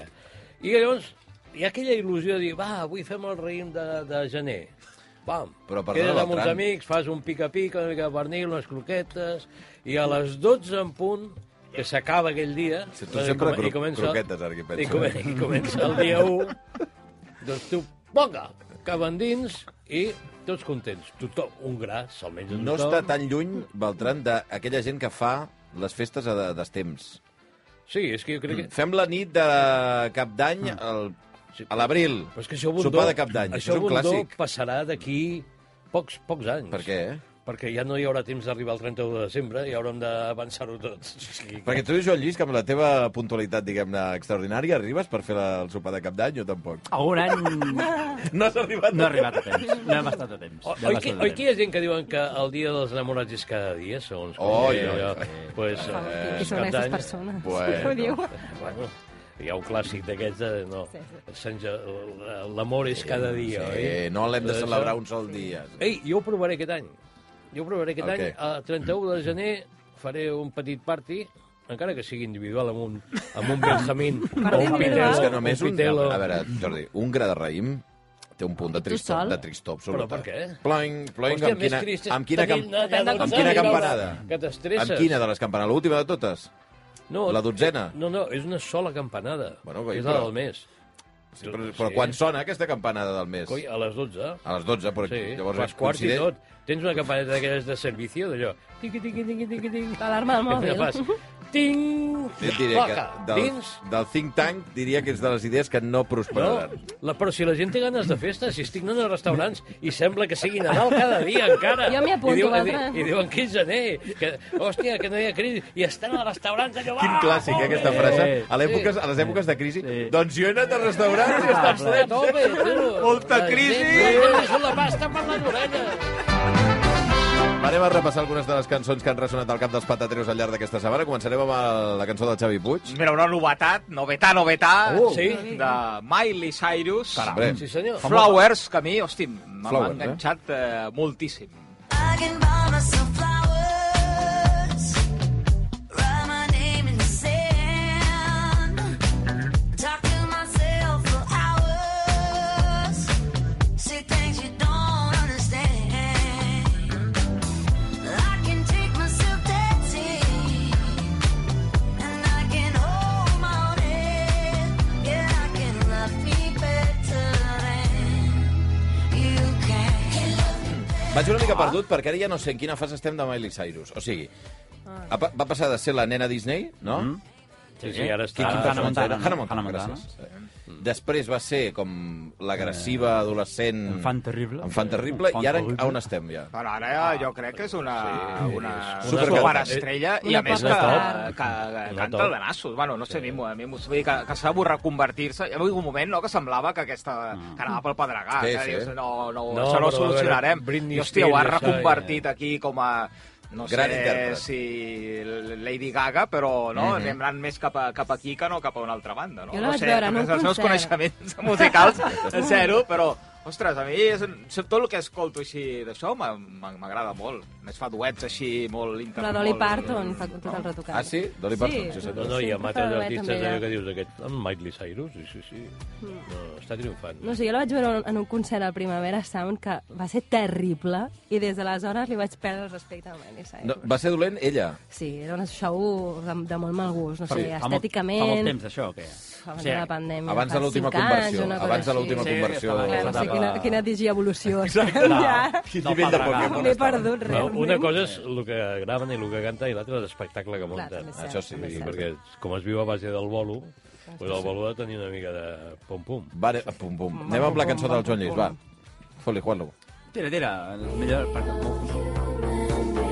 S3: I llavors, hi ha aquella il·lusió de dir, va, avui fem el raïm de, de gener. Pam.
S1: Però, perdona,
S3: Quedes amb uns
S1: Bertran.
S3: amics, fas un pica-pica, una mica de pernil, unes croquetes, i a les 12 en punt, que s'acaba aquell dia...
S1: Si tu
S3: doncs,
S1: sempre
S3: i
S1: cro-
S3: comença-
S1: croquetes, ara que
S3: i,
S1: penso. eh?
S3: come, I comença el dia 1, doncs tu, poca, caben dins i tots contents. Tothom, un gra, se'l menja tothom.
S1: No està tan lluny, Beltran, d'aquella gent que fa les festes a de- d'estemps.
S3: Sí, és que jo crec que...
S1: Mm. Fem la nit de cap d'any al-
S3: Mm. Sí.
S1: a l'abril.
S3: Però és que això Bundó...
S1: Sopar de cap d'any. Això és un
S3: Bundó
S1: clàssic.
S3: passarà d'aquí pocs, pocs anys.
S1: Per què?
S3: Perquè ja no hi haurà temps d'arribar al 31 de desembre i haurem d'avançar-ho tots. O sigui,
S1: Perquè tu, Joan Lluís, que amb la teva puntualitat, diguem-ne, extraordinària, arribes per fer la, el sopar de cap d'any o tampoc?
S5: Algun any
S1: No has arribat.
S5: no he arribat a temps. No hem estat a temps.
S3: O-
S5: No hem
S3: Oi,
S5: estat
S3: que,
S5: a
S3: oi
S5: temps.
S3: que hi ha gent que diuen que el dia dels enamorats és cada dia, segons... com
S1: Oi,
S3: deia
S1: oi,
S3: allò?
S1: oi.
S3: Pues,
S2: Ah,
S3: eh,
S2: Qui són
S3: Cap
S2: aquestes
S3: d'Any.
S2: persones?
S1: Bueno.
S2: Ho diu?
S3: Bueno, hi ha un clàssic d'aquests de... No,
S2: Sí,
S3: Sant Ja- l'amor és cada dia,
S1: Eh,
S3: oi?
S1: no l'hem de
S3: Tot això.
S1: celebrar un sol dia.
S3: Ei, jo ho provaré aquest any. Jo ho provaré aquest
S1: El
S3: any.
S1: què?
S3: El 31 de gener faré un petit party encara que sigui individual amb un, amb un Benjamín o un
S2: individual?
S3: Pitelo.
S1: És que només un...
S3: pitelo.
S1: A veure, Jordi, un gra de raïm té un punt de
S2: I tu
S1: tristop,
S2: sol?
S1: de tristop sobre
S3: Però per què?
S1: Ploing, ploing,
S3: Hòstia,
S1: amb quina,
S3: més trist és
S1: amb quina,
S3: tenir
S1: camp-
S3: una dada
S1: amb
S3: com
S1: quina
S3: Jordi
S1: campanada?
S3: que t'estresses.
S1: Amb quina de les campanades? L'última de totes?
S3: no,
S1: La dotzena?
S3: No, no, és una sola campanada.
S1: Bueno, coi,
S3: és la
S1: però-
S3: del mes.
S1: Sí, però, però quan sona aquesta campanada del mes?
S3: Coi, a les 12.
S1: A les 12, però
S3: Sí,
S1: Ah, doncs llavors
S3: les quarts i
S1: coincideix-
S3: tot. Tens una campaneta d'aquelles de servicio, d'allò. Tiqui, tiqui, tiqui, tiqui, tiqui.
S2: L'alarma del mòbil.
S3: Fas, Ting!
S1: Jo et diré que
S3: Placa,
S1: del,
S3: Dins,
S1: del think tank diria que és de les idees que no
S3: No,
S1: prosperaran.
S3: la, però si la gent té ganes de festa, si estic anant als restaurants i sembla que sigui Nadal cada dia encara.
S2: Jo m'hi apunto,
S3: I, diuen, i,
S2: Beltran.
S3: di- I diuen que és gener, que, hòstia, que no hi ha crisi, i estan als restaurants allò... "Ah,
S1: Quin clàssic, eh, aquesta frase. A, l'època, a les èpoques de crisi,
S5: Sí.
S1: doncs jo he anat al restaurant i està ple.
S4: Molta crisi.
S3: Són la pasta per les orelles. Ah.
S1: Anem a repassar algunes de les cançons que han ressonat al cap dels patateros al llarg d'aquesta setmana. Començarem amb el- la cançó del Xavi Puig.
S4: Mira, una novetat, novetà, novetà,
S3: Oh.
S4: sí,
S3: Sí.
S4: de Miley Cyrus.
S1: Hombre,
S3: Ah, Sí, senyor.
S4: Flowers, que a mi, hosti, m'ha
S1: Flowers,
S4: enganxat eh, moltíssim.
S6: I can buy myself flowers, write my name in the sand, talk to myself for hours, see things you don't understand. I can take myself dancing, and I can hold my own hand. Yeah, I can love me better than you can.
S1: Vaig una
S3: Ah.
S1: mica perdut perquè ara ja no sé en quina fase estem de Miley Cyrus. O sigui,
S3: Ah.
S1: ha pa- va passar de ser la nena Disney, no? Mm
S3: Sí, sí, ara està...
S1: Ah,
S5: Hannah Montana.
S1: Hannah Montana,
S5: Hannah Montana.
S1: gràcies. Després va ser com l'agressiva adolescent...
S5: Infant Eh, terrible.
S1: Enfant terrible.
S5: Infant
S1: I ara
S5: terrible.
S1: on estem, ja?
S4: Però ara jo crec que és una, sí, una, una
S1: supercantant.
S4: superestrella i a
S2: Una
S4: més que,
S2: pop.
S4: que, que canta de nassos. Bueno, no sé, a mi, m'ho- a mi m'ho- vull dir que, que s'ha de reconvertir-se. Hi ha hagut un moment no, que semblava que aquesta que anava pel pedregar.
S1: Sí,
S4: que
S1: sí.
S4: dius, no, no,
S3: No, però
S4: no, això no
S3: a
S4: ho
S3: veure,
S4: solucionarem.
S3: Britney
S4: I, hòstia, ho ha
S3: Spears, això,
S4: reconvertit aquí com a no
S1: Gran
S4: sé
S1: intèrpret.
S4: si Lady Gaga, però no, anem anant més cap, a, cap aquí que no cap a una altra banda. No?
S2: Jo la
S4: no
S2: vaig
S4: sé,
S2: veure en un
S4: els meus
S2: concert.
S4: coneixements musicals, zero, però Ostres, a mi és, tot el que escolto així d'això m'ha- m'ha- m'agrada molt. A Més fa duets així molt... Inter...
S2: La Dolly
S4: molt-
S2: Parton fa tot el retocat.
S1: Ah, sí? Dolly Parton, sí,
S3: No,
S1: senyor.
S3: no, hi
S2: Sempre
S3: ha
S2: fa
S3: matres
S2: duet
S3: artistes
S2: amb ella.
S3: allò que dius aquest. En Miley Cyrus, sí, sí, sí. No, està triomfant.
S2: Mm. No sé, jo la vaig veure en un concert al Primavera Sound que va ser terrible i des d'aleshores li vaig perdre el respecte a Miley Cyrus.
S1: No, va ser dolent ella.
S2: Sí, era un show de, de molt mal gust, no sé,
S5: Fa molt-
S2: estèticament...
S5: Fa molt temps, això, o què?
S2: Abans
S5: Sí.
S2: de la pandèmia.
S1: Abans
S2: Mm, fa
S1: de l'última
S2: cinc
S1: conversió.
S2: Anys, una cosa
S1: Abans de l'última
S2: així.
S5: Sí,
S1: conversió.
S5: estava
S2: Clar, no sé quina, quina digievolució.
S5: Exacte.
S2: Ja.
S5: Quin
S1: nivell de
S2: Ho he perdut,
S3: No,
S2: realment.
S3: una cosa és el que graven i el que canta i l'altra és l'espectacle que
S2: Clar,
S3: munten.
S2: també és cert,
S1: Això sí,
S2: també és
S1: sí,
S2: cert.
S3: Perquè com es viu a base del bolo, doncs el bolo ha de tenir una mica de pom-pom.
S1: Va, anem- pum, pum. Anem amb la cançó del Joan Lluís, va. Foli, Juanlo.
S5: Tira, tira, el millor... Per...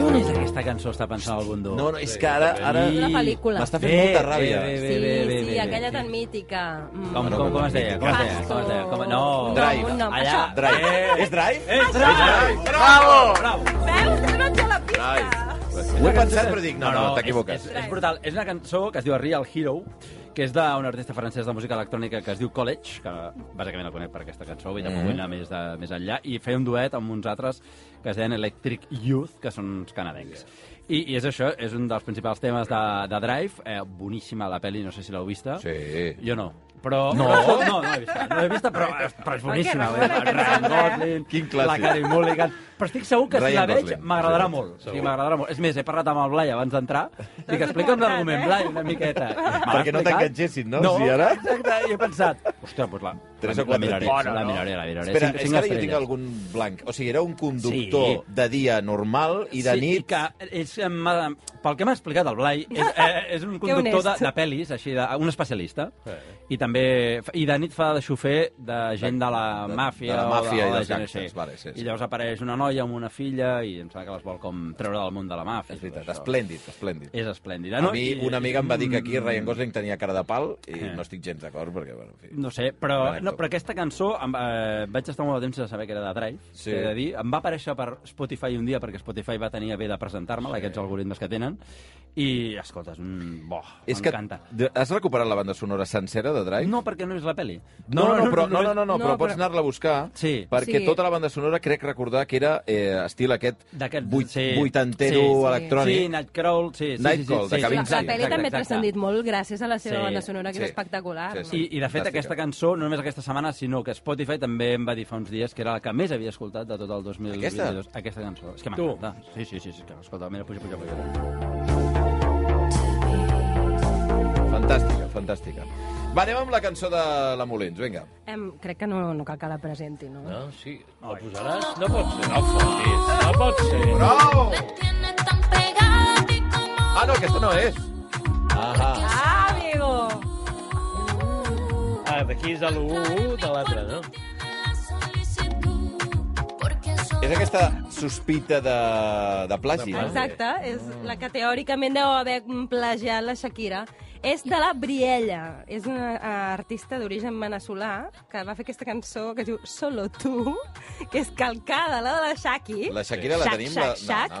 S5: D'on és aquesta cançó, està pensant el Bundó?
S1: No, no, és que ara... ara...
S2: Una pel·lícula.
S1: M'està fent
S5: Bé,
S1: molta ràbia.
S5: bé,
S2: Sí,
S5: bé, bé, bé,
S2: sí,
S5: bé,
S2: aquella
S5: bé.
S2: tan mítica. Mm.
S5: Com, com, com es deia? Com es deia? Com es deia? Com... No,
S2: No,
S1: Drive.
S2: un nom.
S5: Allà,
S2: Això.
S1: Drive.
S5: Eh,
S1: És Drive?
S5: eh, Drive!
S4: Bravo!
S5: Bravo!
S2: Veus? No ets a la pista.
S1: Ho he pensat, però dic, no, no,
S5: És,
S1: t'equivoques.
S5: és, és brutal. És una cançó que es diu Real Hero, que és d'un artista francès de música electrònica que es diu College, que bàsicament el conec per aquesta cançó, ella mm
S1: Mm-hmm.
S5: -hmm. anar més, de, més enllà, i feia un duet amb uns altres que es deien Electric Youth, que són uns canadencs. I, I és això, és un dels principals temes de, de Drive. Eh, boníssima la pel·li, no sé si l'heu vista.
S1: Sí.
S5: Jo no. Però... No? No, no l'he vista. No l'he vista, però, però és boníssima.
S2: no?
S5: Eh? El Ryan Gosling,
S1: Quin clàssic.
S5: la Carey Mulligan... Però estic segur que si
S1: Ryan
S5: la veig
S1: Gosling.
S5: m'agradarà
S1: Sí,
S5: molt. Sí,
S3: segur.
S5: m'agradarà molt. És més, he parlat amb el Blai abans d'entrar. Dic, explica'm l'argument, Blai, una miqueta. I me l'ha
S1: Perquè no
S5: explicat.
S1: t'enganxessin, no?
S5: No,
S1: Si ara-
S5: exacte, i he pensat... Ostres, doncs la,
S1: Tres
S5: la,
S1: o quatre
S5: miraré,
S1: tips.
S5: la miraré, la miraré.
S1: Espera,
S5: Cinc-
S1: és
S5: cinc
S1: que ara jo
S5: estrelles.
S1: tinc algun blanc. O sigui, era un conductor
S5: Sí.
S1: de dia normal i de
S5: sí, i
S1: nit...
S5: que és, eh, m'ha- pel que m'ha explicat el Blai, és, eh, és un conductor de,
S2: honest.
S5: de pel·lis, així, de, un especialista,
S3: Eh.
S5: i també i de nit fa de xofer de gent de la
S1: de-
S5: màfia,
S1: de la màfia
S5: o
S1: i
S5: de, o de
S1: dels
S5: gent
S1: gangsters,
S5: així.
S1: vale, sí, sí.
S5: I llavors apareix una noia amb una filla i em sembla que les vol com treure del món de la màfia.
S1: És veritat,
S5: tot això.
S1: esplèndid, esplèndid.
S5: És esplèndid.
S1: A mi
S5: Ah, I-
S1: una amiga em va dir que aquí
S5: Mm,
S1: Ryan Gosling tenia cara de pal i
S5: Eh.
S1: no estic gens d'acord perquè, bueno, en fi...
S5: No sé, però,
S1: Gran
S5: no,
S1: actor.
S5: però aquesta cançó em, eh, vaig estar molt de temps de saber que era de Drive,
S1: Sí.
S5: sí. he de dir. Em va aparèixer per Spotify un dia, perquè Spotify va tenir a bé de presentar-me, sí. aquests algoritmes que tenen, i, escolta, és un... Bo,
S1: És que
S5: m'encanta.
S1: de- has recuperat la banda sonora sencera de Drive?
S5: No, perquè no és la peli.
S1: No, no, no, però, no, no, no, no, però
S2: No,
S1: pots
S2: però-
S1: anar-la a buscar,
S5: Sí.
S1: perquè
S2: Sí.
S1: tota la banda sonora crec recordar que era eh, estil aquest
S5: D'aquest-
S1: vuit,
S5: sí.
S1: vuitantero
S5: Sí, sí.
S1: electrònic.
S5: Sí, Nightcrawl, sí, sí, sí, sí,
S1: Nightcall,
S5: sí,
S1: de
S5: sí,
S2: La,
S1: Kavinsky.
S2: la pel·li també ha
S5: Exacte, exacte.
S2: transcendit molt gràcies a la seva
S5: Sí,
S2: banda sonora, que
S1: sí.
S2: és espectacular.
S1: Sí,
S2: no?
S1: sí.
S5: I, I, de fet,
S1: Fantàstica.
S5: aquesta cançó, no només aquesta setmana, sinó que Spotify també em va dir fa uns dies que era la que més havia escoltat de tot el 2022.
S1: Aquesta?
S5: Aquesta cançó. És que
S3: Tu.
S5: m'encanta. Sí, sí, sí, sí, que, escolta, mira, puja, puja, puja.
S1: Fantàstica, fantàstica. Va, anem amb la cançó de la Molins, vinga.
S2: Em, crec que no, no cal que la presenti, no?
S3: No, sí. La posaràs? No pot ser, no pot ser. No pot ser.
S1: Bravo!
S6: Tienes tan pegada a ti como
S1: Ah, no, aquesta no és. Ah,
S2: Ah, amigo!
S3: Ah, d'aquí és a l'1 de l'altre, no?
S6: la solicitud. Porque solo
S1: és aquesta sospita de, de plagi.
S2: Exacte,
S1: Ah.
S2: és la que teòricament deu haver plagiat la Shakira. És de la Briella, és una eh, artista d'origen veneçolà que va fer aquesta cançó que es diu Solo tu, que és calcada, la de la Shaki.
S1: La Shakira la
S2: Shak,
S1: tenim,
S2: Shak,
S1: la- no,
S2: Shak,
S1: no,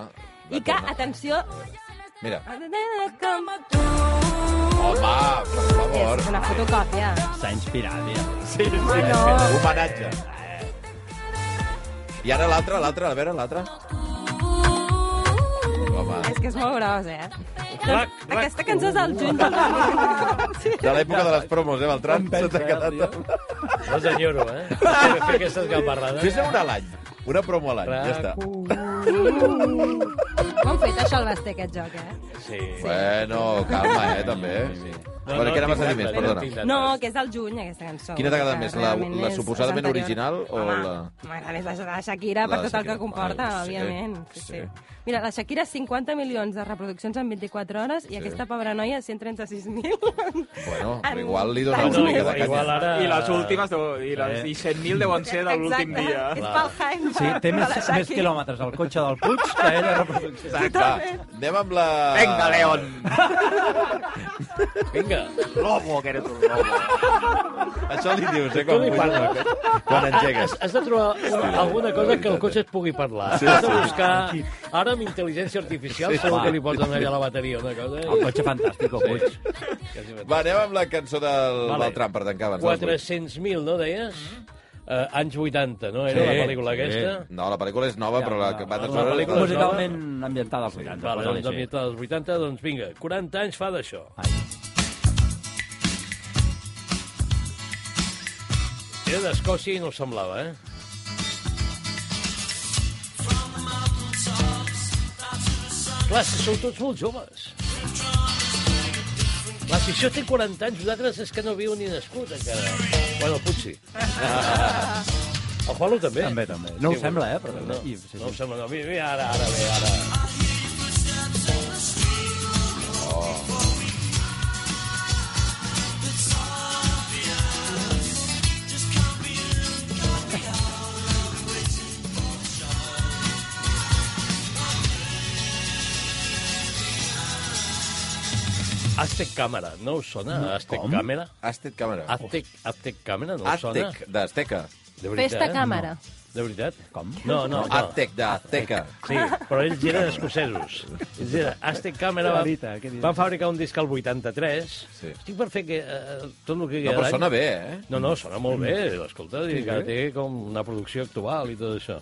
S1: la
S2: I que,
S1: torna.
S2: atenció...
S1: Mira,
S2: Com tu.
S1: home, per favor,
S2: És una fotocòpia.
S5: S'ha inspirat, eh? mira.
S1: Sí, sí,
S2: Bueno.
S1: sí. Homenatge. I ara l'altra, l'altra, a veure, l'altra. Home,
S2: És que és molt gros, eh?
S3: Clac, clac.
S2: Aquesta cançó és del juny del 2000. Sí.
S1: de l'època de les promos, eh, Beltran? Se t'ha quedat...
S3: No senyoro, eh? Fer aquestes gambarrades.
S1: Fes-ne una a l'any. Una promo a l'any, ja està.
S2: Com han fet això el Basté, aquest joc, eh?
S3: Sí.
S1: Bueno, calma, eh, també.
S5: Sí, sí.
S1: No, bueno, què n'has a dir més, perdona.
S2: No, que és del juny, aquesta cançó.
S1: Quina t'ha agradat
S2: Que
S1: més, la-
S2: realment
S1: la
S2: és-
S1: suposadament
S2: és anterior.
S1: original o
S2: Home,
S1: la-
S2: M'agrada més la de Shakira
S1: La
S2: per
S1: de
S2: tot el que
S1: Shakira.
S2: comporta,
S1: Ah, sí,
S2: òbviament. Sí,
S1: sí.
S2: sí. Mira, la Shakira, 50 milions de reproduccions en 24 hores i aquesta pobra noia, 136.000.
S1: Bueno,
S2: En
S1: igual li dona
S2: tants
S1: una mica de
S2: mesos.
S1: canya.
S3: Igual ara...
S4: I les últimes, deu- i les i 100.000 deuen ser de l'últim
S2: Exacte,
S4: dia.
S2: És pel Jaime.
S5: Sí, té
S2: de la
S5: més, més
S2: Shakira.
S5: quilòmetres al cotxe del Puig que ella reproducció.
S1: Exacte. Anem amb la...
S4: Vinga, León!
S1: Vinga,
S3: Vinga.
S4: Lobo, que eres un lobo.
S1: Això li dius, eh,
S3: Tu
S1: quan,
S3: li parles.
S1: quan engegues.
S3: Has, has de trobar una, alguna cosa que el cotxe et pugui parlar. eh. Sí, has de buscar... Ara amb intel·ligència artificial
S1: Sí,
S3: sí, segur
S1: va.
S3: que li pots donar allà a la bateria una cosa. eh?
S5: El cotxe fantàstic, el Puig.
S1: Va, anem amb la cançó del
S3: Vale.
S1: vale. Beltran per tancar abans. dels vuit.
S3: 400.000, no deies? Eh, anys 80, no? Era la pel·lícula aquesta?
S1: No, la pel·lícula és nova, però la que va
S3: la
S1: transformar...
S3: pel·lícula és nova.
S1: Musicalment...
S5: Musicalment ambientada als 80.
S3: Vale,
S5: posa-li
S3: doncs de
S5: així.
S3: mitjans dels 80, doncs vinga, 40 anys fa d'això.
S5: Ai.
S3: Era d'Escòcia i no ho semblava, eh? Clar, és que sou tots molt joves. Clar, si això té 40 anys, vosaltres és que no viu ni nascut, encara. Bueno, potser. El Pablo també.
S5: També, també. No ho sembla, eh, però-
S3: No,
S5: Sí, sí.
S3: no ho sembla, no. Mira, mira, ara, ara, bé, ara. Aztec Càmera, no us sona? Aztec Càmera?
S1: Aztec Càmera.
S3: Aztec, Aztec Càmera, no us sona?
S1: Oh. Aztec, d'Azteca.
S3: De
S2: Festa càmera.
S3: De veritat? Com? No, no, no.
S1: Aztec, d'Azteca.
S3: Sí, però ells eren escocesos. Ells eren Aztec Camera,
S5: Clarita, què
S3: van,
S5: dius?
S3: van fabricar un disc al 83.
S1: Sí.
S3: Estic per fer que, eh, tot el que...
S1: No, però sona bé, eh?
S3: No, no, sona molt bé, escolta, sí, que té com una producció actual i tot això.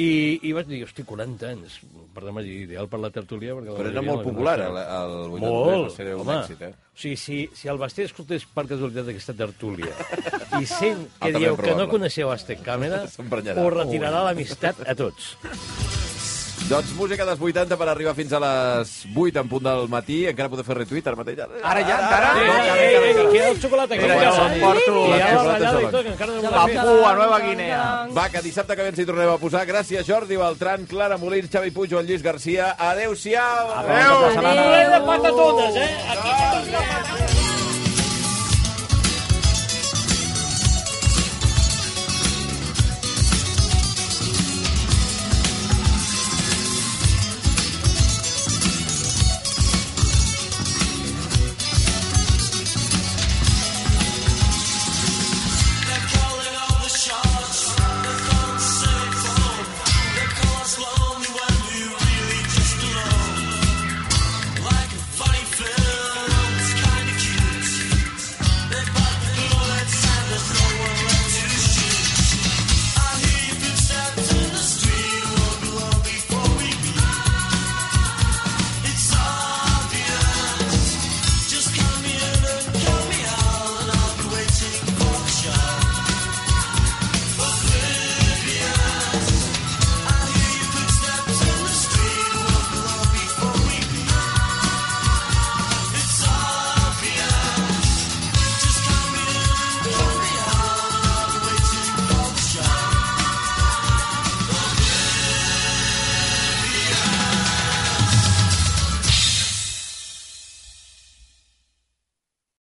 S3: I, i vaig dir, hosti, 40 anys, per demà ideal per la tertúlia... Perquè la
S1: Però era
S3: majoria
S1: molt
S3: no- no
S1: popular,
S3: sona.
S1: el, el 83 va
S3: Molt,
S1: ser un
S3: home.
S1: èxit, eh?
S3: O sigui, si, si el Basté escoltés per casualitat aquesta tertúlia i sent que
S1: Altament
S3: dieu que
S1: probable.
S3: no coneixeu Aztec Càmera,
S1: S'emprenyarà.
S3: us retirarà l'amistat a tots.
S1: Doncs música dels 80 per arribar fins a les 8 en punt del matí. Encara podeu fer retuit ara mateix.
S4: Ara ja, ara...
S3: Ei, ei, ei, que queda el xocolata, que
S4: Mira,
S3: encara
S4: ja
S3: sona.
S4: s'emporto
S3: I ja la
S4: la
S1: xocolata
S3: ballada i
S1: segona.
S3: tot, que encara no me l'ha fet.
S4: Papua, Nova Guinea.
S1: Va, que dissabte que ve ens hi tornem a posar. Gràcies, Jordi Beltran, Clara Molins, Xavi Puig, Joan Lluís Garcia. Adéu-siau! Adéu!
S5: Adéu.
S3: Res de patatones, eh? Aquí
S6: Mira,